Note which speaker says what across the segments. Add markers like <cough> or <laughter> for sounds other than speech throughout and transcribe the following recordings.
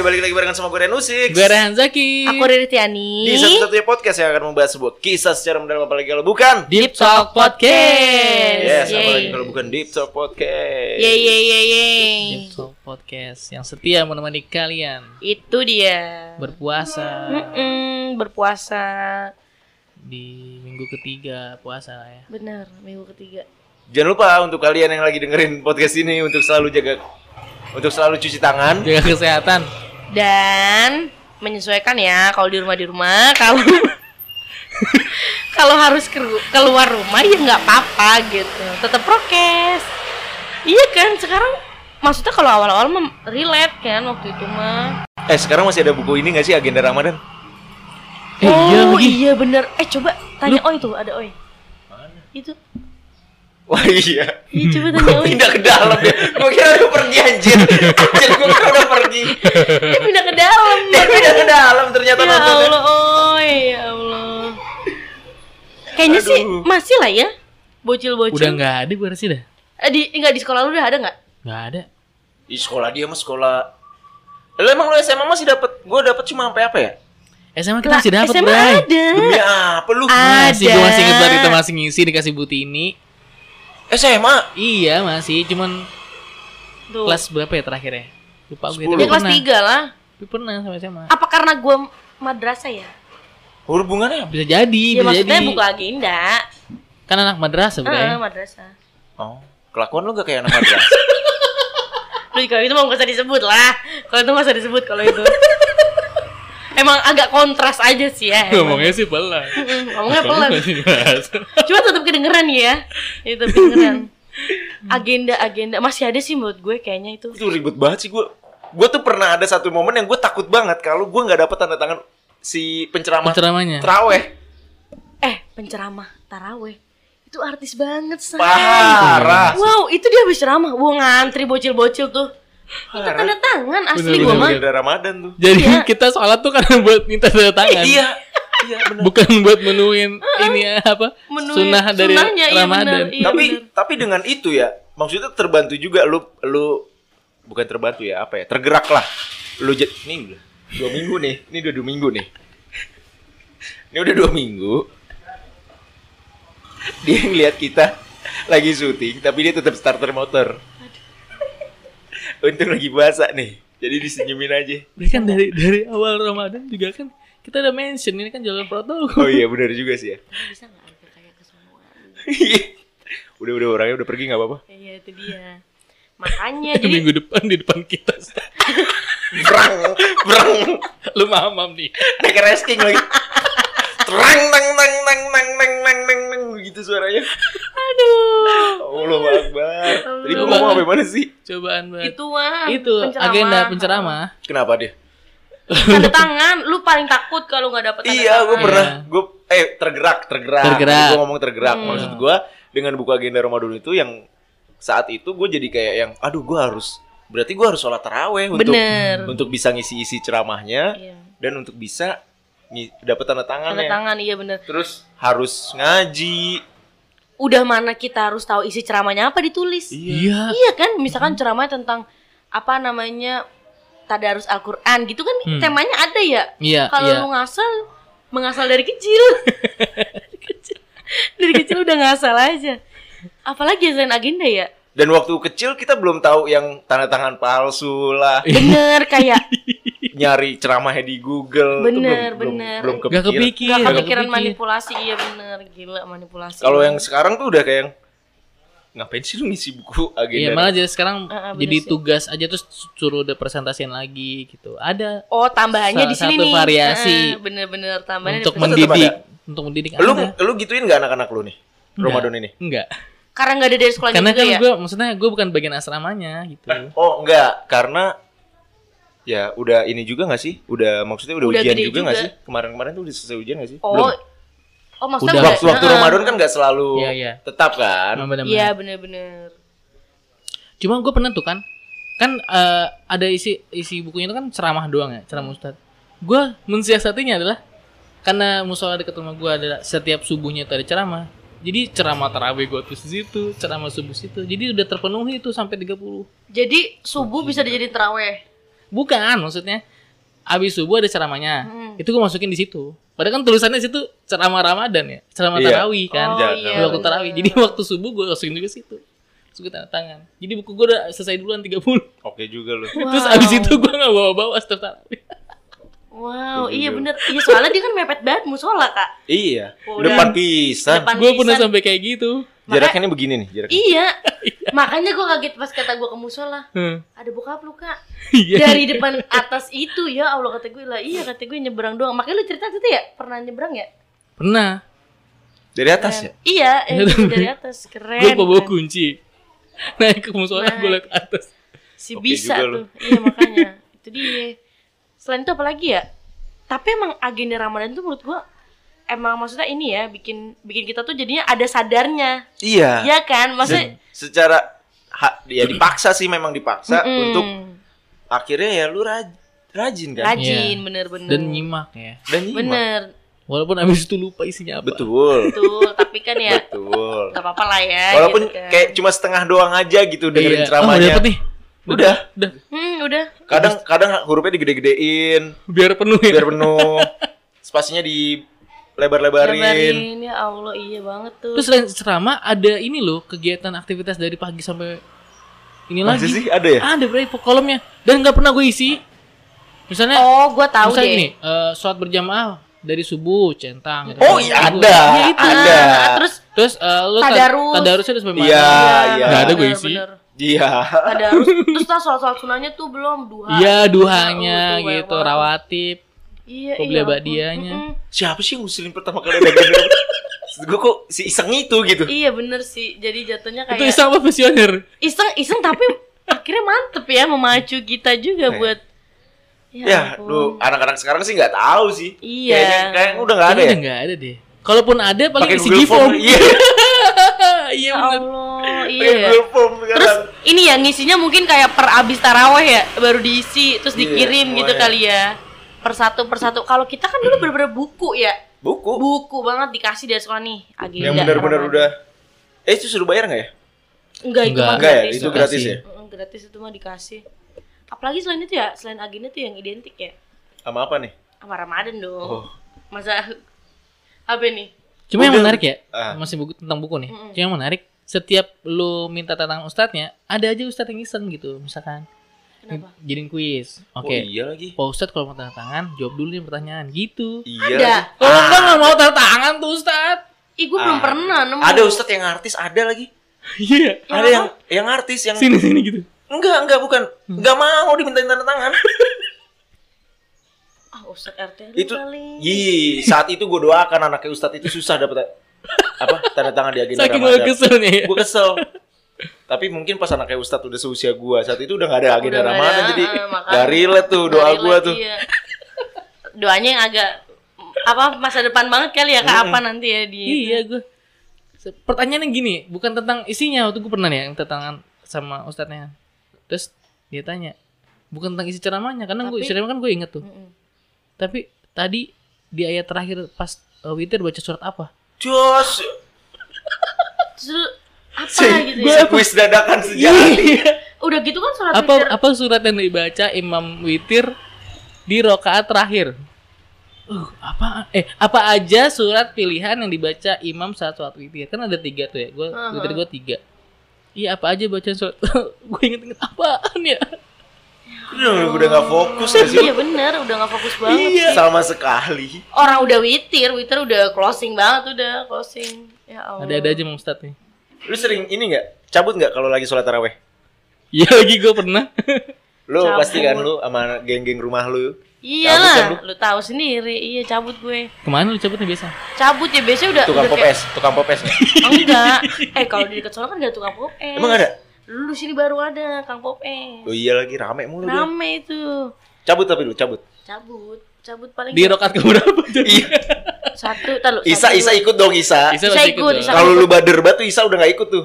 Speaker 1: balik lagi barengan sama gue Ren Usik.
Speaker 2: Gue Rehan Zaki.
Speaker 3: Aku Riri Tiani.
Speaker 1: Di satu-satunya podcast yang akan membahas sebuah kisah secara mendalam apalagi kalau bukan.
Speaker 2: Deep Talk Podcast.
Speaker 1: Yes,
Speaker 3: Yeay.
Speaker 1: apalagi kalau bukan Deep Talk Podcast.
Speaker 3: Yeay, yeay, yeay, yeay.
Speaker 2: Deep Talk Podcast yang setia menemani kalian
Speaker 3: Itu dia.
Speaker 2: berpuasa
Speaker 3: Mm-mm, berpuasa.
Speaker 2: di minggu ketiga puasa lah ya.
Speaker 3: Benar, minggu ketiga.
Speaker 1: Jangan lupa untuk kalian yang lagi dengerin podcast ini untuk selalu jaga untuk selalu cuci tangan.
Speaker 2: Jaga kesehatan.
Speaker 3: Dan menyesuaikan ya kalau di rumah di rumah <laughs> kalau kalau harus ke- keluar rumah ya nggak apa-apa gitu tetap prokes iya kan sekarang maksudnya kalau awal-awal mem- relate kan waktu itu mah
Speaker 1: Eh, sekarang masih ada buku ini gak sih agenda Ramadan? <laughs>
Speaker 2: Eh, iya
Speaker 3: oh
Speaker 2: lagi.
Speaker 3: iya bener eh coba tanya oi tuh ada oi itu
Speaker 1: Wah iya.
Speaker 3: Iya coba
Speaker 2: <laughs>
Speaker 3: tanya
Speaker 1: Gue
Speaker 3: Oi.
Speaker 1: pindah ke dalam ya. Gue kira lu pergi anjir. Jadi gue kira udah pergi.
Speaker 3: Dia pindah ke dalam.
Speaker 1: Dia pindah ke dalam ternyata
Speaker 3: ya
Speaker 1: nontonnya.
Speaker 3: Allah, Oi, ya Allah. Kayaknya sih
Speaker 1: Aduh.
Speaker 3: masih lah ya. Bocil-bocil.
Speaker 2: Udah nggak ada gue rasa dah.
Speaker 3: Eh, Di enggak di sekolah lu udah ada enggak?
Speaker 2: Nggak ada.
Speaker 1: Ih, sekolah dia mah sekolah. Lo emang lo SMA masih dapat? Gue dapat cuma sampai apa ya?
Speaker 2: SMA kita masih dapat,
Speaker 3: SMA
Speaker 2: Bray.
Speaker 3: ada.
Speaker 1: Demi apa lu?
Speaker 3: Ah.
Speaker 2: Masih gue
Speaker 3: Ada.
Speaker 2: masih inget banget kita masih ngisi dikasih butini.
Speaker 1: SMA.
Speaker 2: Iya, masih cuman
Speaker 3: Tuh.
Speaker 2: kelas berapa ya terakhir ya? Lupa gue
Speaker 1: Sepuluh.
Speaker 3: ya, kelas
Speaker 2: pernah.
Speaker 3: 3 lah.
Speaker 2: Tapi pernah sama SMA.
Speaker 3: Apa karena gua madrasah ya?
Speaker 1: Hubungannya apa?
Speaker 2: Bisa jadi,
Speaker 3: Ya
Speaker 2: bisa
Speaker 3: maksudnya Ah,
Speaker 2: jadi.
Speaker 3: buku agenda.
Speaker 2: Kan anak madrasah, Bray.
Speaker 3: Heeh, madrasah.
Speaker 1: Oh, kelakuan lu gak kayak anak madrasah.
Speaker 3: Lu kalau itu mau nggak usah disebut lah. Kalau itu nggak usah disebut kalau
Speaker 2: <laughs>
Speaker 3: itu. Emang agak kontras aja sih ya. emang.
Speaker 2: Eh, Ngomongnya sih pelan.
Speaker 3: Mm, Ngomongnya pelan.
Speaker 2: pelan.
Speaker 3: Cuma tetap kedengeran ya. Itu kedengeran.
Speaker 2: <laughs>
Speaker 3: Agenda agenda masih ada sih menurut gue kayaknya itu.
Speaker 1: <laughs> itu ribet banget sih gue gue tuh pernah ada satu momen yang gue takut banget kalau gue nggak dapet tanda tangan si penceramah
Speaker 2: ceramahnya
Speaker 1: traweh
Speaker 3: Eh, penceramah taraweh. Itu artis banget, Say.
Speaker 1: parah
Speaker 3: Wow, itu dia habis ceramah. Wah, ngantri bocil-bocil tuh. Itu
Speaker 1: Parah.
Speaker 3: tanda tangan asli
Speaker 2: Bener,
Speaker 3: gue mah.
Speaker 1: Udah ramadan tuh
Speaker 2: jadi
Speaker 3: Iya.
Speaker 2: kita sholat tuh karena buat minta tanda tangan
Speaker 1: iya iya benar
Speaker 2: bukan buat menuin ini eh, apa
Speaker 3: Menuhi
Speaker 2: sunnah dari
Speaker 3: sunnahnya, iya
Speaker 2: ramadan
Speaker 3: bener, iya
Speaker 1: tapi
Speaker 3: bener.
Speaker 1: tapi dengan itu ya maksudnya terbantu juga lu lu bukan terbantu ya apa ya tergerak lah lu jadi nih udah dua minggu nih ini udah dua minggu nih ini udah dua minggu dia ngeliat kita lagi syuting tapi dia tetap starter motor untung lagi basah nih jadi disenyumin aja
Speaker 2: Ini kan dari dari awal ramadan juga kan kita udah mention ini kan jalan
Speaker 1: oh
Speaker 2: protokol
Speaker 1: iya benar juga sih ya Iya.
Speaker 3: Bisa nggak ada kayak kesemuanya?
Speaker 1: udah udah orangnya udah pergi nggak apa-apa
Speaker 3: Iya, itu dia.
Speaker 2: <laughs>
Speaker 3: Makanya
Speaker 2: Eh,
Speaker 3: Iya, jadi
Speaker 2: minggu depan di depan kita
Speaker 1: brang brang
Speaker 2: lu mamam nih
Speaker 1: naik resting lagi terang nang nang nang nang nang nang nang nang gitu suaranya
Speaker 3: aduh.
Speaker 1: Allah akbar tadi gua
Speaker 2: Allah.
Speaker 1: ngomong apa mana sih
Speaker 2: cobaan banget
Speaker 3: Itu kan wah.
Speaker 2: itu agenda penceramah
Speaker 1: kenapa dia
Speaker 3: Tanda tangan, lu paling takut kalau nggak dapet tanda
Speaker 1: iya
Speaker 3: tangan.
Speaker 1: gue pernah gue eh tergerak tergerak
Speaker 2: Tergerak.
Speaker 1: gue ngomong tergerak
Speaker 3: Hmm.
Speaker 1: maksud gue dengan buku agenda Ramadan itu yang saat itu gue jadi kayak yang aduh gue harus berarti gue harus sholat taraweh untuk
Speaker 3: Bener.
Speaker 1: untuk bisa ngisi isi ceramahnya
Speaker 3: Iya.
Speaker 1: dan untuk bisa ngi- dapet tanda
Speaker 3: Tanda
Speaker 1: tangannya
Speaker 3: tangan iya bener.
Speaker 1: terus harus ngaji
Speaker 3: Udah mana kita harus tahu isi ceramahnya apa ditulis.
Speaker 2: iya
Speaker 3: Iya kan, misalkan ceramah tentang apa namanya tadarus Al-Qur'an gitu kan
Speaker 2: Hmm.
Speaker 3: temanya ada ya.
Speaker 2: iya
Speaker 3: Kalau
Speaker 2: iya
Speaker 3: lu ngasal, mengasal dari
Speaker 2: <laughs>
Speaker 3: kecil. dari kecil. Dari kecil udah ngasal aja. Apalagi ya selain agenda ya?
Speaker 1: Dan waktu kecil kita belum tahu yang tanda tangan palsu lah,
Speaker 2: Iya.
Speaker 3: Bener
Speaker 2: <laughs>
Speaker 3: kayak
Speaker 1: nyari ceramahnya di Google, itu
Speaker 3: Bener,
Speaker 1: belum,
Speaker 3: bener.
Speaker 1: belum belum
Speaker 2: Gak
Speaker 1: kepikiran.
Speaker 2: kepikir,
Speaker 3: gak
Speaker 2: gak
Speaker 3: kepikiran
Speaker 2: kepikir.
Speaker 3: manipulasi iya bener gila manipulasi.
Speaker 1: Kalau yang sekarang tuh udah kayak yang, ngapain sih lu ngisi buku agenda?
Speaker 2: Iya malah jadi sekarang
Speaker 3: Ah, ah, bener
Speaker 2: jadi
Speaker 3: sih.
Speaker 2: tugas aja terus suruh udah presentasiin lagi gitu. Ada
Speaker 3: Oh tambahannya
Speaker 2: Salah
Speaker 3: di sini
Speaker 2: satu
Speaker 3: nih.
Speaker 2: variasi.
Speaker 3: Eh, Bener-bener tambahannya.
Speaker 2: untuk
Speaker 3: di-
Speaker 1: men- tetap
Speaker 2: mendidik,
Speaker 1: ada.
Speaker 2: untuk mendidik
Speaker 1: lu
Speaker 2: ada.
Speaker 1: lu gituin nggak anak-anak lu nih? Ramadan ini.
Speaker 2: Enggak.
Speaker 3: Karena nggak ada dari sekolah
Speaker 2: Karena
Speaker 3: juga
Speaker 2: kan
Speaker 3: Oh, ya.
Speaker 2: gue maksudnya gue bukan bagian asramanya gitu.
Speaker 1: Oh, enggak, karena ya udah ini juga nggak sih? Udah maksudnya udah,
Speaker 3: Udah
Speaker 1: ujian
Speaker 3: gede
Speaker 1: juga nggak
Speaker 3: juga.
Speaker 1: sih? Kemarin-kemarin tuh udah selesai ujian nggak sih?
Speaker 3: Oh,
Speaker 1: Belum.
Speaker 3: oh maksudnya
Speaker 2: Udah.
Speaker 1: Waktu waktu
Speaker 3: Heeh.
Speaker 1: Ramadan kan nggak selalu
Speaker 2: Iya, iya.
Speaker 1: tetap kan?
Speaker 2: Bener-bener.
Speaker 3: Iya bener-bener.
Speaker 2: Cuma gue pernah tuh kan kan eh, ada isi isi bukunya itu kan ceramah doang ya,
Speaker 3: Hmm.
Speaker 2: ceramah ustad. Gue mensiasatinya adalah karena musola dekat rumah gue ada setiap subuhnya itu ada ceramah. Jadi ceramah tarawih gue tulis di situ, ceramah subuh situ. Jadi udah terpenuhi itu sampai 30.
Speaker 3: Jadi subuh bisa dijadiin teraweh.
Speaker 2: Bukan, maksudnya abis subuh ada ceramahnya.
Speaker 3: Hmm.
Speaker 2: Itu gue masukin di situ. Padahal kan tulisannya di situ ceramah Ramadan ya, ceramah
Speaker 1: Iya.
Speaker 2: tarawih kan.
Speaker 3: Oh,
Speaker 1: Jangan.
Speaker 3: iya,
Speaker 2: waktu tarawih. Jadi waktu subuh gue masukin juga situ. Terus gue tanda tangan. Jadi buku gue udah selesai duluan 30.
Speaker 1: Oke juga lu.
Speaker 2: <laughs> Terus abis itu gue gak bawa-bawa setiap tarawih.
Speaker 3: Wow,
Speaker 1: Iya
Speaker 3: iya
Speaker 1: juga.
Speaker 3: bener. Iya soalnya dia kan mepet banget musola kak.
Speaker 1: Iya.
Speaker 3: Udah.
Speaker 1: Depan pisan.
Speaker 3: Depan
Speaker 2: Gue pernah
Speaker 3: pisan.
Speaker 2: sampai kayak gitu.
Speaker 1: Jaraknya ini begini nih, jaraknya.
Speaker 3: Iya. Makanya gue kaget pas kata gue ke musola.
Speaker 2: Hmm.
Speaker 3: Ada bokap lu kak.
Speaker 2: Iya.
Speaker 3: Dari depan atas itu ya Allah kata gue lah. Iya kata gue nyebrang doang. Makanya lu cerita itu ya pernah nyebrang ya?
Speaker 2: Pernah.
Speaker 1: Dari atas ya?
Speaker 3: Iya. Eh, dari atas keren.
Speaker 2: Gue bawa
Speaker 3: kan.
Speaker 2: kunci. <laughs> Naik ke musola gue liat ke atas.
Speaker 3: Si
Speaker 1: Oke
Speaker 3: bisa
Speaker 1: juga
Speaker 3: tuh. Iya
Speaker 1: <laughs>
Speaker 3: makanya. itu dia. Selain itu apa lagi ya? Tapi emang agenda Ramadan tuh menurut gua emang maksudnya ini ya bikin bikin kita tuh jadinya ada sadarnya.
Speaker 1: Iya.
Speaker 2: Nah,
Speaker 3: Iya kan? Maksudnya
Speaker 1: Secara ha, ya dipaksa sih memang dipaksa
Speaker 3: Mm-mm.
Speaker 1: untuk akhirnya ya lu raj- rajin kan.
Speaker 3: rajin bener-bener.
Speaker 2: Dan nyimak ya.
Speaker 1: Dan nyimak.
Speaker 3: Bener.
Speaker 2: Walaupun abis itu lupa isinya apa.
Speaker 1: Betul.
Speaker 3: Tuh, tapi kan ya <laughs>
Speaker 1: Betul.
Speaker 3: gak apa-apa lah ya.
Speaker 1: Walaupun
Speaker 3: gitu kan.
Speaker 1: kayak cuma setengah doang aja gitu dengerin
Speaker 2: Iya. Ah, udah
Speaker 1: ceramahnya.
Speaker 2: dapet nih.
Speaker 1: Udah.
Speaker 2: Udah.
Speaker 3: hmm, udah.
Speaker 1: Kadang kadang hurufnya digede-gedein
Speaker 2: Biar penuh ya.
Speaker 1: biar penuh. Spasinya di lebar-lebarin.
Speaker 3: Kabarin ya Allah iya banget tuh.
Speaker 2: Terus selain ceramah ada ini loh kegiatan aktivitas dari pagi sampai ini
Speaker 1: Masih
Speaker 2: lagi.
Speaker 1: sih ada ya?
Speaker 2: Ada bro kolomnya dan nggak pernah gue isi. Misalnya
Speaker 3: oh, gua tahu
Speaker 2: misalnya
Speaker 3: deh.
Speaker 2: ini eh sholat berjamaah dari subuh centang.
Speaker 3: Ah,
Speaker 2: gitu.
Speaker 1: Oh iya ada,
Speaker 2: Iya, itu.
Speaker 1: ada.
Speaker 3: Nah, terus
Speaker 2: Terus eh, lu tad-
Speaker 3: Tadarus.
Speaker 2: tadarusnya udah sampai mana?
Speaker 1: Iya, iya.
Speaker 3: ya,
Speaker 2: Ah, Nggak ada gua
Speaker 3: bener,
Speaker 2: isi.
Speaker 3: bener.
Speaker 1: Iya.
Speaker 3: Ada harus terus nah soal-soal sunahnya tuh belum duha.
Speaker 2: Iya
Speaker 3: Oh,
Speaker 2: duhanya
Speaker 3: tuh, banyak
Speaker 2: gitu
Speaker 3: banget.
Speaker 2: rawatib.
Speaker 3: Iya,
Speaker 2: Kok beli
Speaker 3: ampun.
Speaker 2: abadiahnya?
Speaker 3: Mm-mm.
Speaker 1: Siapa sih yang ngusulin pertama kali ada gini? Gue kok si iseng itu gitu.
Speaker 3: Iya bener sih. Jadi jatuhnya kayak
Speaker 2: Itu iseng apa visioner?
Speaker 3: iseng iseng
Speaker 2: <laughs>
Speaker 3: tapi akhirnya mantep ya memacu kita
Speaker 1: Iya.
Speaker 3: juga buat
Speaker 1: Ya,
Speaker 3: ampun.
Speaker 1: lu anak-anak sekarang sih nggak tahu sih.
Speaker 3: Iya.
Speaker 1: Kayaknya kayaknya udah nggak ada
Speaker 2: Kayaknya
Speaker 1: ya.
Speaker 2: udah nggak ada deh. Kalaupun ada paling
Speaker 1: Pakai
Speaker 2: isi
Speaker 1: Google Form.
Speaker 2: G-form.
Speaker 1: Iya,
Speaker 2: <laughs> Iya
Speaker 3: Ya
Speaker 2: bener.
Speaker 3: Allah,
Speaker 1: pakai
Speaker 3: iya.
Speaker 1: Google Form
Speaker 3: Terus
Speaker 1: sekarang.
Speaker 3: ini ya ngisinya mungkin kayak per abis taraweh ya baru diisi terus
Speaker 1: Iya,
Speaker 3: dikirim gitu
Speaker 1: semuanya.
Speaker 3: kali ya per satu per satu. Kalau kita kan dulu bener-bener buku ya
Speaker 1: buku
Speaker 3: buku banget dikasih dari sekolah nih Ah, agenda.
Speaker 1: yang benar-benar
Speaker 3: Ramadan.
Speaker 1: udah Eh itu suruh bayar nggak ya?
Speaker 3: enggak itu
Speaker 2: Enggak.
Speaker 3: mah
Speaker 1: Enggak ya,
Speaker 3: gratis
Speaker 1: itu
Speaker 3: tuh.
Speaker 1: gratis ya.
Speaker 2: Kasih.
Speaker 3: Mm, gratis itu mah dikasih. Apalagi selain itu ya selain agenda tuh yang identik ya
Speaker 1: Sama apa nih?
Speaker 3: sama Ramadan
Speaker 1: Oh.
Speaker 3: dong. Masa apa nih?
Speaker 2: Cuma yang
Speaker 1: Udah.
Speaker 2: menarik ya,
Speaker 1: Ah.
Speaker 2: masih buku tentang buku nih.
Speaker 3: Mm-mm.
Speaker 2: Cuma yang menarik, setiap lu minta tantangan ustadznya, ada aja ustadz yang iseng gitu, misalkan.
Speaker 3: Kenapa?
Speaker 2: Jadiin kuis.
Speaker 1: Oh
Speaker 2: Oke.
Speaker 1: iya lagi.
Speaker 2: Pak Ustadz kalau mau tanda tangan, jawab dulu nih pertanyaan gitu.
Speaker 1: Iya.
Speaker 3: Ada.
Speaker 1: lagi.
Speaker 2: Kalau enggak nggak mau tanda tangan tuh Ustadz. <laughs>
Speaker 3: Ih, gue belum
Speaker 1: Ah.
Speaker 3: pernah nemu.
Speaker 1: Ada ustadz yang artis ada lagi.
Speaker 2: Iya.
Speaker 3: Yang
Speaker 1: ada
Speaker 3: apa?
Speaker 1: yang yang artis yang
Speaker 2: Sini sini gitu.
Speaker 1: enggak enggak bukan enggak mau dimintain tanda tangan.
Speaker 3: Ah, Ustaz RT
Speaker 1: <laughs> itu
Speaker 3: kali.
Speaker 1: Ih, saat itu gue doakan anaknya ustadz itu susah dapat apa tanda tangan di agenda
Speaker 2: Saking gue
Speaker 1: Ramadan.
Speaker 2: keselnya ya.
Speaker 1: Gue kesel. Tapi mungkin pas anaknya Ustadz udah seusia gue saat itu udah gak ada agenda
Speaker 3: Udah nggak ada,
Speaker 1: Ramadan jadi
Speaker 3: eh, makanya.
Speaker 1: gak relate tuh doa
Speaker 3: Dari
Speaker 1: gue
Speaker 3: lagi
Speaker 1: tuh.
Speaker 3: ya. Doanya yang agak apa masa depan banget kali ya
Speaker 1: Hmm.
Speaker 3: kak apa nanti ya di
Speaker 2: Iya gue. Se- Pertanyaannya gini, bukan tentang isinya. Waktu gue pernah nih ya, minta tangan sama ustadznya. Terus dia tanya, bukan tentang isi ceramahnya, karena gue
Speaker 3: Tapi-
Speaker 2: isi ceramah kan gue inget tuh.
Speaker 3: Mm-mm.
Speaker 2: Tapi tadi di ayat terakhir pas uh, witir baca surat apa?
Speaker 1: Jos,
Speaker 3: Terus lu, apa
Speaker 1: si,
Speaker 3: Ah, gitu
Speaker 1: si
Speaker 3: ya
Speaker 1: kuis dadakan sejati.
Speaker 3: udah gitu kan surat
Speaker 2: <laughs> apa
Speaker 3: witir.
Speaker 2: apa surat yang dibaca Imam Witir di rokaat terakhir? Uh, apa eh apa aja surat pilihan yang dibaca imam saat sholat witir kan ada tiga tuh ya gue
Speaker 3: Aha.
Speaker 2: witir gue tiga iya apa aja bacaan surat <laughs> gue inget-inget apaan ya
Speaker 1: Aduh, udah gak fokus gak sih?
Speaker 3: iya bener udah nggak fokus banget
Speaker 1: Iya. Sama sekali.
Speaker 3: orang udah witir witir udah closing banget udah closing ya Allah
Speaker 2: ada ada aja Mang Ustadz nih
Speaker 1: Lu sering ini gak? Cabut gak kalau lagi sholat taraweh?
Speaker 2: iya lagi gue pernah <laughs>
Speaker 1: Lu
Speaker 3: Cabut.
Speaker 1: pasti kan lu sama geng-geng rumah lu. Cabut kan
Speaker 3: iyalah lu tahu sendiri iya cabut gue
Speaker 2: kemana lu cabutnya biasa
Speaker 3: cabut ya biasanya udah
Speaker 1: Tukang
Speaker 3: udah kayak-
Speaker 1: popes, tukang popes. nggak?
Speaker 3: Oh, enggak eh kalau di dekat sana kan nggak tukang pop es
Speaker 1: Emang ada?
Speaker 3: lu sini baru ada kang pop es
Speaker 1: Oh iya lagi rame mulu dia.
Speaker 3: rame itu
Speaker 1: Cabut tapi lu cabut.
Speaker 3: cabut cabut paling
Speaker 2: di rokaat ke berapa <laughs>
Speaker 3: satu tahu
Speaker 1: Isa Isa ikut dong Isa.
Speaker 3: Isa ikut, Isa.
Speaker 1: Kalau lu bader batu Isa udah gak ikut tuh.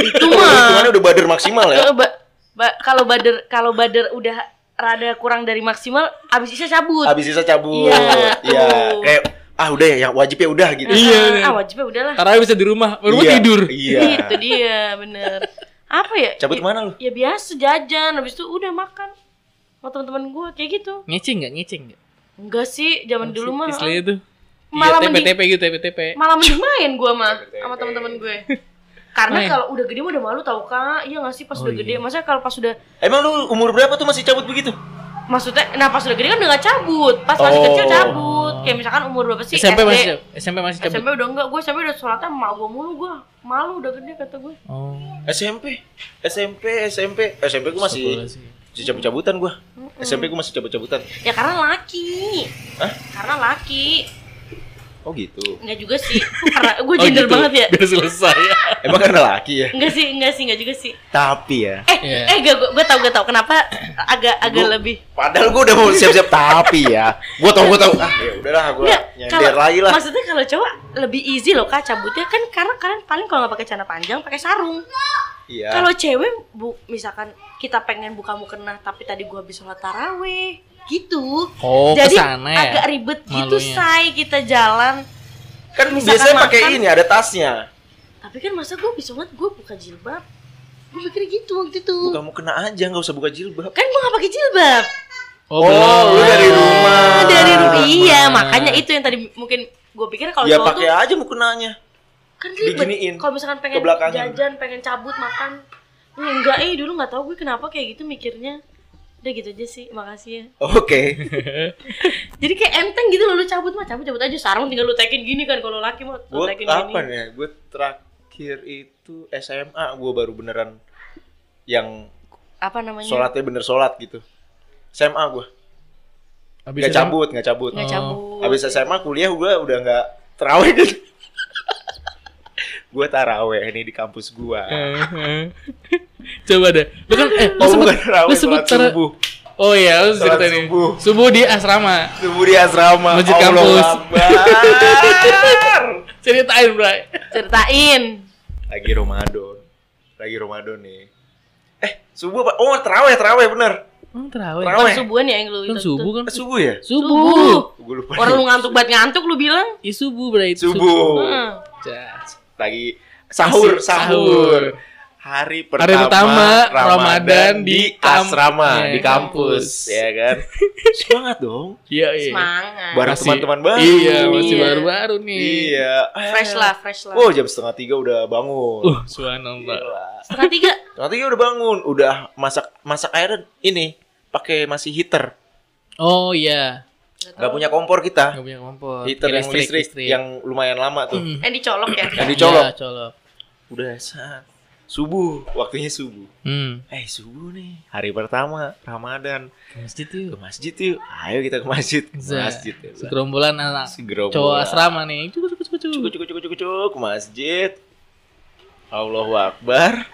Speaker 3: itu
Speaker 1: Kalau lu hitungannya
Speaker 3: mah
Speaker 1: udah bader maksimal ya.
Speaker 3: Kalau Eh, ba- ba- kalau bader kalau bader udah rada kurang dari maksimal abis Isa cabut
Speaker 1: Habis sisa cabut.
Speaker 3: Iya,
Speaker 1: Iya.
Speaker 3: betul.
Speaker 1: Kayak ah udah ya yang wajib ya udah gitu.
Speaker 2: Iya.
Speaker 3: ah wajibnya udahlah
Speaker 2: karena bisa di rumah rumah
Speaker 1: Iya,
Speaker 2: tidur
Speaker 1: Iya.
Speaker 3: itu dia bener apa ya
Speaker 1: Cabut
Speaker 3: Ya-
Speaker 1: mana lu?
Speaker 3: ya biasa jajan habis itu udah makan sama teman-teman gue kayak gitu
Speaker 2: Ngecing nggak ngecing nggak?
Speaker 3: enggak sih zaman dulu mah
Speaker 2: Istilah itu. Iya,
Speaker 3: malah mending-
Speaker 2: TP-TP gitu, TP-TP. <laughs>
Speaker 3: malah mending main gue mah sama teman-teman gue karena
Speaker 2: Main.
Speaker 3: kalau udah gede mah udah malu tau kak iya nggak sih pas udah gede maksudnya kalau pas udah
Speaker 1: Emang lu umur berapa tuh masih cabut begitu?
Speaker 3: maksudnya nah pas udah gede kan udah gak cabut pas masih
Speaker 1: Oh.
Speaker 3: kecil cabut kayak misalkan umur berapa sih
Speaker 2: SMP
Speaker 3: SD.
Speaker 2: masih SMP masih cabut.
Speaker 3: SMP udah enggak gue SMP udah sholatnya sama gue mulu gue malu udah gede kata gue
Speaker 2: Oh.
Speaker 1: SMP, SMP, SMP, SMP gue masih
Speaker 2: sekolah sih.
Speaker 1: masih cabut-cabutan gue. SMP gue masih cabut-cabutan.
Speaker 3: ya karena laki
Speaker 1: Hah?
Speaker 3: karena laki
Speaker 1: Oh gitu.
Speaker 3: enggak juga sih karena gue
Speaker 2: Oh,
Speaker 3: gender
Speaker 1: <laughs>
Speaker 2: gitu.
Speaker 3: banget ya
Speaker 2: Biar selesai.
Speaker 1: Emang karena laki ya.
Speaker 3: enggak sih enggak sih enggak juga sih
Speaker 1: Tapi ya.
Speaker 3: eh
Speaker 2: Iya.
Speaker 3: eh gak gue tau gue tau
Speaker 2: <coughs>
Speaker 3: kenapa agak agak
Speaker 1: Gua-
Speaker 3: lebih
Speaker 1: Padahal gue udah mau siap-siap tapi ya. Gue tau, gue tau. Ah ya udahlah gue
Speaker 3: Nggak,
Speaker 1: nyender lagi lah.
Speaker 3: Maksudnya Iya, kalau cowok lebih easy loh kak cabutnya kan karena kalian paling kalau nggak pakai celana panjang pakai sarung.
Speaker 1: Iya.
Speaker 3: Kalau cewek bu, misalkan kita pengen buka mukena tapi tadi gua habis sholat taraweh gitu.
Speaker 2: Oh,
Speaker 3: Jadi
Speaker 2: kesana ya?
Speaker 3: agak ribet gitu
Speaker 2: Malunya.
Speaker 3: say kita jalan.
Speaker 1: Kan
Speaker 3: misalkan
Speaker 1: biasanya pakai
Speaker 3: makan-
Speaker 1: ini ada tasnya.
Speaker 3: Tapi kan masa gua habis sholat gua buka jilbab. Gua mikir gitu waktu itu.
Speaker 1: Bukan mau kena aja, nggak usah buka jilbab.
Speaker 3: Kan gua nggak pakai jilbab.
Speaker 2: Oh,
Speaker 1: lu
Speaker 2: belum.
Speaker 1: dari rumah.
Speaker 3: Ah, dari rumah. Iya
Speaker 2: rumah.
Speaker 3: makanya itu yang tadi mungkin gua pikir kalau
Speaker 1: Ya
Speaker 3: cowok
Speaker 1: pakai
Speaker 3: tuh
Speaker 1: aja mau kenanya.
Speaker 3: kan ribet
Speaker 1: diginiin
Speaker 3: kalau misalkan
Speaker 1: ke
Speaker 3: pengen
Speaker 1: belakangnya.
Speaker 3: jajan pengen cabut makan Ini enggak eh dulu nggak tahu gue kenapa kayak gitu mikirnya udah gitu aja sih makasih ya
Speaker 1: Oke.
Speaker 3: jadi kayak enteng gitu loh lu cabut mah cabut cabut aja sarung tinggal lu tekin gini kan kalau laki mah lu
Speaker 1: gue
Speaker 3: tekin
Speaker 1: kapan ya gue terakhir itu SMA gue baru beneran yang
Speaker 3: apa namanya
Speaker 1: sholatnya bener sholat gitu SMA gue
Speaker 2: Habis
Speaker 1: nggak
Speaker 2: itu-
Speaker 1: cabut nggak cabut
Speaker 3: nggak
Speaker 2: Oh.
Speaker 3: cabut
Speaker 1: habis SMA kuliah gue udah nggak terawih gitu <laughs> gue taraweh ini di kampus gue
Speaker 2: Heeh. <laughs> Coba deh. Lu kan eh lu
Speaker 1: Oh,
Speaker 2: Ya.
Speaker 1: <laughs>
Speaker 2: sebut
Speaker 1: bukan terawih,
Speaker 2: lu sebut
Speaker 1: sholat
Speaker 2: tara-
Speaker 1: subuh.
Speaker 2: Oh iya, lu
Speaker 1: Sholat
Speaker 2: ceritain ini.
Speaker 1: subuh.
Speaker 2: Subuh di asrama.
Speaker 1: Subuh di asrama
Speaker 2: Masjid
Speaker 1: Allah
Speaker 2: kampus.
Speaker 1: Akbar.
Speaker 2: Ceritain, Bray.
Speaker 3: ceritain
Speaker 1: lagi Ramadan lagi Ramadan nih eh subuh apa oh teraweh teraweh bener
Speaker 2: Emang terawih.
Speaker 1: Terawih.
Speaker 3: kan subuhan ya yang lu
Speaker 2: Kan subuh kan.
Speaker 1: Eh, subuh ya
Speaker 2: Subuh.
Speaker 1: gue lupa
Speaker 3: orang lu ngantuk banget ngantuk lu bilang
Speaker 2: Ih, subuh, Bray.
Speaker 1: subuh
Speaker 3: Heeh.
Speaker 2: Jas.
Speaker 1: lagi sahur
Speaker 2: Masih
Speaker 1: sahur
Speaker 2: sahur.
Speaker 1: hari pertama,
Speaker 2: Hari pertama Ramadan di kam-
Speaker 1: asrama
Speaker 2: iya.
Speaker 1: di kampus ya kan semangat dong
Speaker 2: Iya, iya.
Speaker 3: semangat
Speaker 1: Bareng
Speaker 2: Masih-
Speaker 1: teman-teman baru.
Speaker 2: Iya, masih
Speaker 3: Iya.
Speaker 2: baru-baru nih.
Speaker 1: iya
Speaker 3: fresh lah fresh lah
Speaker 1: oh jam setengah tiga udah bangun
Speaker 2: Uh, subhanallah.
Speaker 1: Gila.
Speaker 3: setengah tiga
Speaker 1: setengah tiga udah bangun udah masak masak air ini pakai masih heater
Speaker 2: Oh iya.
Speaker 3: Oh.
Speaker 1: nggak punya kompor kita
Speaker 2: Enggak punya kompor.
Speaker 1: heater yang listrik, yang lumayan lama tuh
Speaker 2: Mm.
Speaker 3: eh dicolok ya
Speaker 1: yang dicolok
Speaker 2: Iya, colok.
Speaker 1: udah saat subuh waktunya subuh
Speaker 2: Hmm.
Speaker 1: eh subuh nih hari pertama Ramadan
Speaker 2: ke Masjid
Speaker 1: ke
Speaker 2: yuk.
Speaker 1: masjid yuk ayo kita ke masjid ke
Speaker 2: Zah.
Speaker 1: masjid ya Bang.
Speaker 2: Segerombolan anak
Speaker 1: Segerombolan.
Speaker 2: cowok asrama nih. Cukup cukup cukup
Speaker 1: cukup
Speaker 2: cukup.
Speaker 1: cukup cukup cukup cukup ke masjid Allahu <laughs> Akbar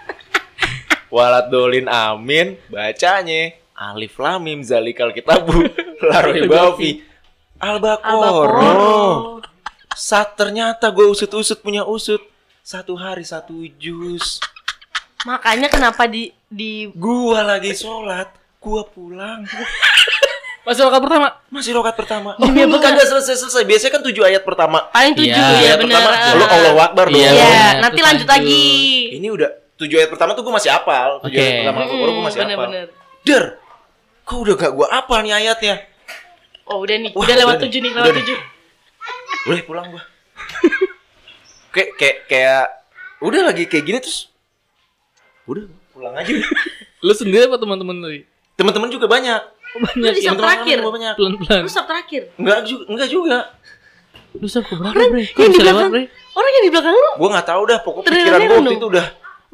Speaker 1: walat dolin amin bacanya Alif Lamim Zalikal <laughs> Kitabu Laroi Bafi Oh, Al-Baqarah
Speaker 3: Albakoro
Speaker 1: Saat ternyata gue usut-usut punya usut Satu hari satu jus
Speaker 3: makanya kenapa di di
Speaker 1: Gua lagi sholat Gua pulang
Speaker 2: Masih rokat pertama.
Speaker 1: Masih rokat pertama
Speaker 3: Demi
Speaker 1: Lu
Speaker 3: apa?
Speaker 1: kagak selesai-selesai Biasanya kan tujuh ayat pertama
Speaker 3: paling tujuh
Speaker 2: Iya,
Speaker 3: ya,
Speaker 1: ayat
Speaker 3: benar.
Speaker 1: pertama lu Allahu Akbar dong.
Speaker 2: Iya,
Speaker 3: Iya,
Speaker 2: benar,
Speaker 3: nanti
Speaker 2: terus
Speaker 3: lanjut
Speaker 2: lanjut.
Speaker 3: lagi.
Speaker 1: Ini udah tujuh ayat pertama tuh gue masih apal. Tujuh
Speaker 2: Oke.
Speaker 1: ayat pertama
Speaker 3: Mm-mm,
Speaker 1: Al-Baqarah gue masih apal.
Speaker 3: bener-bener.
Speaker 1: Der, kok udah gak gue apal nih ayatnya?
Speaker 3: Oh, udah nih,
Speaker 1: Wah,
Speaker 3: udah lewat
Speaker 1: udah
Speaker 3: tujuh nih,
Speaker 1: nih,
Speaker 3: lewat
Speaker 1: udah
Speaker 3: tujuh.
Speaker 1: Boleh pulang
Speaker 2: <laughs>
Speaker 1: gue. kayak kayak kayak udah lagi kayak gini terus udah pulang aja. <laughs>
Speaker 2: Lu sendiri apa teman-teman tadi?
Speaker 1: Teman-teman juga banyak.
Speaker 3: Lu di
Speaker 1: Teman-teman
Speaker 3: sub terakhir.
Speaker 1: juga banyak.
Speaker 2: Pelan-pelan.
Speaker 3: Lu sub terakhir.
Speaker 1: Enggak juga, enggak juga.
Speaker 2: Lu sab keberapa,
Speaker 3: Orang
Speaker 2: Bre? Kok
Speaker 3: yang di
Speaker 2: bisa lewat,
Speaker 3: belakang,
Speaker 2: Bre?
Speaker 3: orang yang di belakang lu
Speaker 1: Gue nggak tahu dah. Pokok
Speaker 3: Ternyata
Speaker 1: pikiran gue waktu
Speaker 3: dong.
Speaker 1: itu udah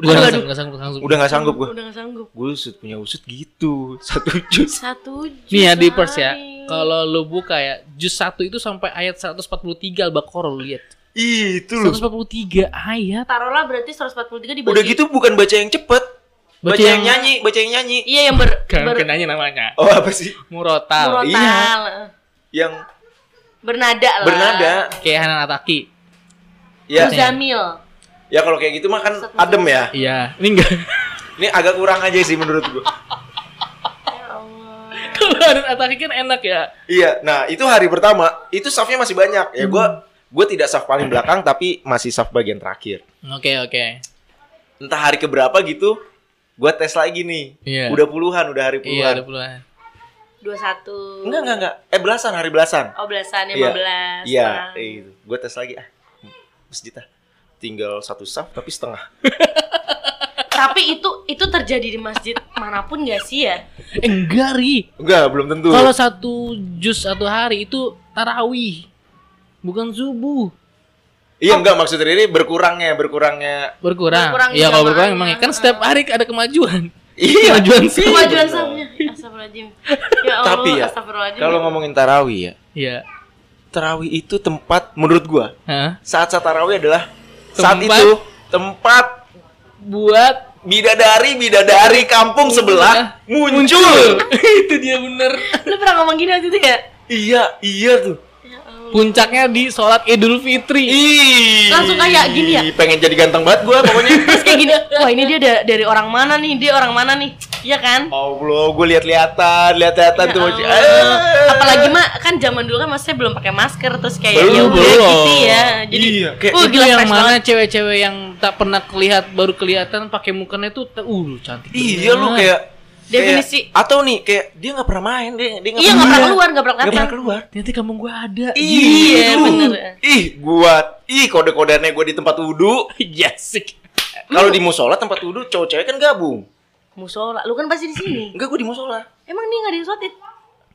Speaker 2: Udah
Speaker 3: Waduh.
Speaker 2: nggak sanggup, nggak sanggup, nggak sanggup.
Speaker 1: udah nggak sanggup gue.
Speaker 3: Udah gak sanggup.
Speaker 1: Gue usut punya usut gitu <laughs> satu jus.
Speaker 3: Satu
Speaker 2: Nih ya di pers ya.
Speaker 3: sehari.
Speaker 2: Kalau lu buka ya, juz 1 itu sampai ayat 143 Al-Baqarah lu lihat.
Speaker 1: Ih, Itu loh.
Speaker 2: 143 ayat.
Speaker 3: taruhlah berarti 143 dibagi.
Speaker 1: Udah gitu bukan baca yang cepet, baca,
Speaker 2: Baca
Speaker 1: yang...
Speaker 2: yang-
Speaker 1: nyanyi, baca yang nyanyi.
Speaker 3: Iya, yang ber
Speaker 2: Kan
Speaker 3: ber
Speaker 2: kenanya namanya.
Speaker 1: Oh apa sih?
Speaker 2: Murotal.
Speaker 3: murotal.
Speaker 1: Yang
Speaker 3: Bernada
Speaker 1: Iya.
Speaker 3: lah.
Speaker 1: bernada.
Speaker 2: Kayak Hanan Ataki.
Speaker 1: Ya,
Speaker 3: Muzamil.
Speaker 1: Ya kalau kayak gitu mah kan adem ya.
Speaker 2: Iya, ini enggak.
Speaker 1: Ini agak kurang aja sih menurut gua.
Speaker 3: Ya Allah.
Speaker 2: <laughs> Kalau Hanan Ataki kan enak ya.
Speaker 1: iya, nah itu hari pertama, itu safnya masih banyak. Ya gua gua tidak saf paling belakang tapi masih saf bagian terakhir.
Speaker 2: Oke, oke.
Speaker 1: Entah hari keberapa gitu, gua tes lagi nih.
Speaker 2: Iya.
Speaker 1: Udah puluhan, udah hari
Speaker 2: Iya, ada
Speaker 1: puluhan.
Speaker 2: puluhan.
Speaker 3: 21
Speaker 1: Enggak, enggak, enggak. Eh belasan, hari belasan.
Speaker 3: Oh belasan,
Speaker 1: Iya.
Speaker 3: 15
Speaker 1: Iya,
Speaker 3: orang.
Speaker 1: eh, gitu. Gue tes lagi ah. Masjid ah. Tinggal satu saf tapi setengah.
Speaker 3: Tapi itu itu terjadi di masjid manapun gak sih ya?
Speaker 2: Eh, enggak ri
Speaker 1: Enggak, belum tentu.
Speaker 2: kalau satu jus satu hari itu tarawih bukan subuh
Speaker 1: Iya, enggak maksud Riri berkurangnya, berkurangnya.
Speaker 2: berkurang,
Speaker 3: Berkurang
Speaker 2: ya kalau
Speaker 3: jamaahnya.
Speaker 2: berkurang emang ya. kan setiap hari ada kemajuan
Speaker 1: Iya. <laughs>
Speaker 2: kemajuan sih
Speaker 3: Kemajuan
Speaker 1: bener.
Speaker 3: safnya Astagfirullahaladzim Ya Allah
Speaker 1: Tapi ya,
Speaker 3: Astagfirullahaladzim
Speaker 1: Kalau ngomongin tarawih ya,
Speaker 2: ya
Speaker 1: tarawih itu tempat menurut gua
Speaker 2: Hah?
Speaker 1: saat saat tarawih adalah saat
Speaker 2: Tempat-
Speaker 1: itu tempat
Speaker 2: buat <laughs>
Speaker 1: bidadari bidadari kampung
Speaker 2: Iya.
Speaker 1: sebelah muncul.
Speaker 2: itu dia bener
Speaker 3: Lu pernah ngomong gini waktu itu ya?
Speaker 1: Iya, iya tuh.
Speaker 2: puncaknya di sholat idul fitri
Speaker 1: Ih.
Speaker 3: Langsung kayak gini ya?
Speaker 1: Pengen jadi ganteng banget gua
Speaker 2: <laughs>
Speaker 1: pokoknya.
Speaker 3: Terus kayak gini Wah ini dia da- dari orang mana nih? Dia orang mana nih? Iya kan?
Speaker 1: Allah, gue lihat-lihatan, lihat-lihatan
Speaker 3: Ya
Speaker 1: tuh.
Speaker 3: Allah.
Speaker 1: Eh.
Speaker 3: Apalagi mah kan zaman dulu kan maksudnya belum pakai masker terus kayak
Speaker 1: Belum,
Speaker 3: ya udah
Speaker 1: belum.
Speaker 3: gitu ya. Jadi
Speaker 1: Iya, kayak
Speaker 3: uh,
Speaker 2: itu
Speaker 3: gila
Speaker 2: yang
Speaker 3: fresh
Speaker 2: mana
Speaker 3: banget.
Speaker 2: cewek-cewek yang tak pernah kelihat baru kelihatan pakai mukanya tuh te- uh cantik
Speaker 1: Iya lu
Speaker 2: bener.
Speaker 1: kayak
Speaker 3: Definisi.
Speaker 1: kayak- atau nih kayak dia nggak pernah main dia dia
Speaker 3: Iya nggak pernah keluar, nggak pernah
Speaker 1: nggak pernah
Speaker 3: kelihatan.
Speaker 1: keluar.
Speaker 2: nanti kampung gua ada <laughs>
Speaker 3: Iya,
Speaker 1: Ih, lu.
Speaker 3: bener.
Speaker 1: Ih, gua ih kode-kodeannya gua di tempat wudhu.
Speaker 2: yes sih.
Speaker 1: Kalau di musola tempat wudhu cowok cewek kan gabung.
Speaker 3: Musola, lu kan pasti di sini.
Speaker 1: Enggak gua di musola.
Speaker 3: Emang nih nggak ada yang sholat, Id?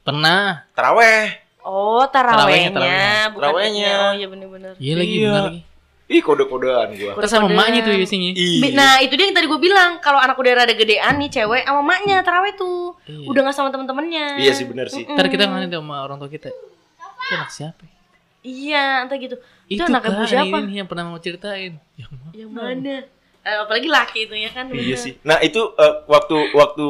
Speaker 2: pernah
Speaker 1: Taraweh.
Speaker 3: Oh,
Speaker 2: Tarawehnya,
Speaker 3: tarawehnya, bukan
Speaker 1: Tarawehnya.
Speaker 3: idnya. Oh iya bener-bener.
Speaker 2: iya lagi
Speaker 1: Iya.
Speaker 2: benar lagi
Speaker 1: Ih, kode-kodean gua.
Speaker 2: kita sama
Speaker 3: Kode-kodean.
Speaker 2: emaknya tuh biasanya
Speaker 1: Ih.
Speaker 3: Nah itu dia yang tadi gue bilang kalau anak udah rada gedean nih cewek sama maknya taraweh tuh
Speaker 2: Iya.
Speaker 3: udah nggak sama temen-temennya.
Speaker 1: Iya sih benar sih.
Speaker 2: ntar kita ngomongin sama orang tua kita itu anak siapa ya?
Speaker 3: Iya entah gitu.
Speaker 2: itu
Speaker 3: Itu, anaknya Bu
Speaker 2: kan
Speaker 3: siapa?
Speaker 2: ini yang pernah mau ceritain Ya yang mana?
Speaker 3: Yang mana? Eh, apalagi laki itu ya kan.
Speaker 1: Iya
Speaker 3: bener.
Speaker 1: sih. Nah, itu eh, waktu waktu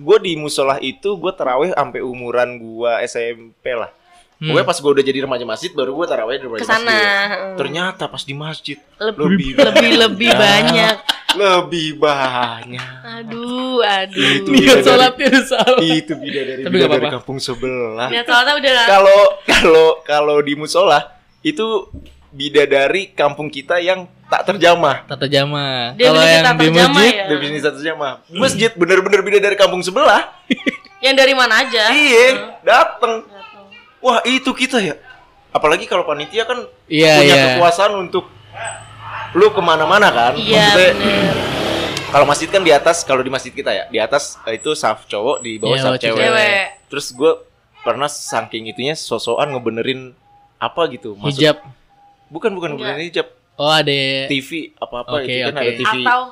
Speaker 1: gua di musola itu gua taraweh sampai umuran gua SMP lah.
Speaker 2: Hmm.
Speaker 1: Pokoknya pas gua udah jadi remaja masjid baru gua taraweh di remaja
Speaker 3: Kesana.
Speaker 1: masjid.
Speaker 3: heeh.
Speaker 1: Ternyata Iya. pas di masjid
Speaker 3: lebih
Speaker 1: lebih
Speaker 3: lebih lebih banyak.
Speaker 1: lebih banyak.
Speaker 3: Aduh, aduh.
Speaker 1: Itu.
Speaker 2: Niat <laughs> sholatnya ada salah
Speaker 3: Iya.
Speaker 1: itu bidadari
Speaker 2: Tapi nggak
Speaker 1: bidadari
Speaker 2: apa-apa.
Speaker 1: kampung sebelah.
Speaker 3: Niat sholatnya Ya, udah
Speaker 1: Kalau kalau kalau di musola itu bidadari kampung kita yang tak terjamah.
Speaker 2: tata jama
Speaker 3: Dia
Speaker 2: kalau
Speaker 3: bener-bener
Speaker 2: yang
Speaker 3: tata
Speaker 2: di
Speaker 3: jama
Speaker 2: masjid
Speaker 3: Ya.
Speaker 1: Definisi tak terjamah. Masjid bener-bener bidadari kampung sebelah.
Speaker 3: yang dari mana aja?
Speaker 1: Iya, dateng.
Speaker 3: Nggak tahu.
Speaker 1: Wah itu kita ya. Apalagi kalau panitia kan
Speaker 2: Iya,
Speaker 1: punya
Speaker 2: iya.
Speaker 1: kekuasaan untuk lu kemana-mana kan.
Speaker 3: Iya,
Speaker 1: Maksudnya,
Speaker 3: bener.
Speaker 1: kalau masjid kan di atas, kalau di masjid kita ya di atas eh, itu saf cowok, di bawah
Speaker 2: Iya,
Speaker 1: saf
Speaker 2: bawah
Speaker 1: cewek.
Speaker 3: cewek.
Speaker 1: Terus gue pernah saking itunya sosokan ngebenerin apa gitu. Maksud-
Speaker 2: hijab
Speaker 1: Bukan bukan ngebenerin hijab.
Speaker 2: oh ada
Speaker 1: TV apa-apa
Speaker 2: Oke,
Speaker 1: itu kan
Speaker 2: oke.
Speaker 1: ada TV
Speaker 3: Atau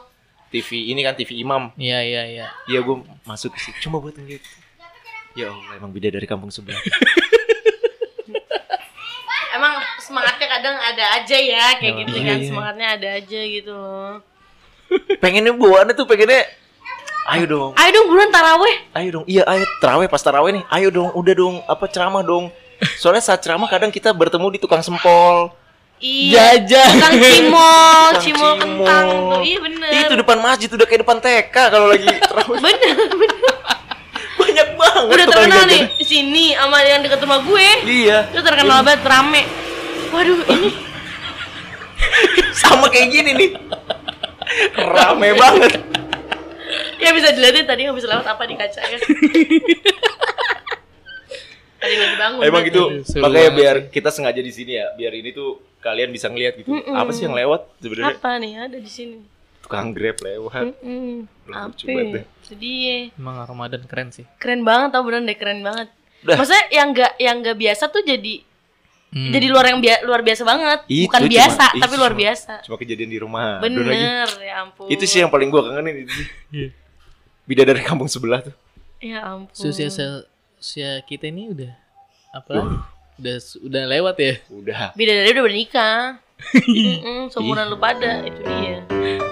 Speaker 1: TV ini kan TV Imam.
Speaker 2: iya iya iya
Speaker 1: Ya gue masuk ke situ cuma buat ngeliat. Ya Allah emang beda dari kampung sebelah.
Speaker 2: <laughs>
Speaker 3: emang semangatnya kadang ada aja ya kayak gitu
Speaker 1: Iya,
Speaker 3: kan
Speaker 1: iya.
Speaker 3: semangatnya ada aja gitu loh.
Speaker 1: pengennya bawaannya tuh pengennya ayo dong
Speaker 3: Ayo dong buruan taraweh.
Speaker 1: ayo dong iya ayo teraweh pas teraweh nih ayo dong udah dong apa ceramah dong soalnya saat ceramah kadang kita bertemu di tukang sempol
Speaker 3: Iya.
Speaker 2: Jajan.
Speaker 3: Tukang cimol,
Speaker 1: Tukang
Speaker 3: cimol
Speaker 1: cimol.
Speaker 3: kentang tuh. Iya bener.
Speaker 1: itu depan masjid udah kayak depan TK kalau
Speaker 3: <laughs>
Speaker 1: lagi teraweh
Speaker 3: bener, bener.
Speaker 1: banyak banget
Speaker 3: Udah
Speaker 1: tukang
Speaker 3: terkenal
Speaker 1: jajan.
Speaker 3: nih di sini sama yang deket rumah gue.
Speaker 1: iya
Speaker 3: Itu terkenal banget rame. Waduh, ini
Speaker 1: sama kayak gini nih rame banget
Speaker 3: ya bisa dilihatin tadi habis lewat apa di kaca
Speaker 1: <laughs>
Speaker 3: ya. tadi lagi bangun.
Speaker 1: emang
Speaker 3: kan.
Speaker 1: gitu
Speaker 2: Seru
Speaker 1: makanya
Speaker 2: banget
Speaker 1: biar kita sengaja di sini ya biar ini tuh kalian bisa ngeliat gitu
Speaker 3: Mm-mm.
Speaker 1: apa sih yang lewat sebenarnya
Speaker 3: Apa nih ada di sini?
Speaker 1: tukang grab lewat
Speaker 3: Hmm.
Speaker 1: Lucu banget
Speaker 3: Apa?
Speaker 1: deh.
Speaker 3: Sedih.
Speaker 2: <laughs>
Speaker 3: ya.
Speaker 2: emang Ramadan keren sih
Speaker 3: Keren banget tau beneran deh keren banget.
Speaker 1: Dah.
Speaker 3: Maksudnya yang gak yang nggak biasa tuh jadi
Speaker 2: Hmm.
Speaker 3: jadi luar yang bia- luar biasa banget.
Speaker 1: Itu
Speaker 3: Bukan
Speaker 1: cuma-
Speaker 3: biasa,
Speaker 1: itu
Speaker 3: tapi luar
Speaker 1: cuma-
Speaker 3: biasa.
Speaker 1: cuma kejadian di rumah Don lagi.
Speaker 3: Bener, ya ampun.
Speaker 1: Itu sih yang paling gua kangenin itu sih.
Speaker 2: Iya.
Speaker 1: Bidadari kampung sebelah tuh.
Speaker 3: ya ampun.
Speaker 2: usia usia kita ini udah apa lagi? udah udah lewat ya
Speaker 1: Udah.
Speaker 3: Bidadari udah bernikah. Mm-mm, seumuran lu pada itu dia.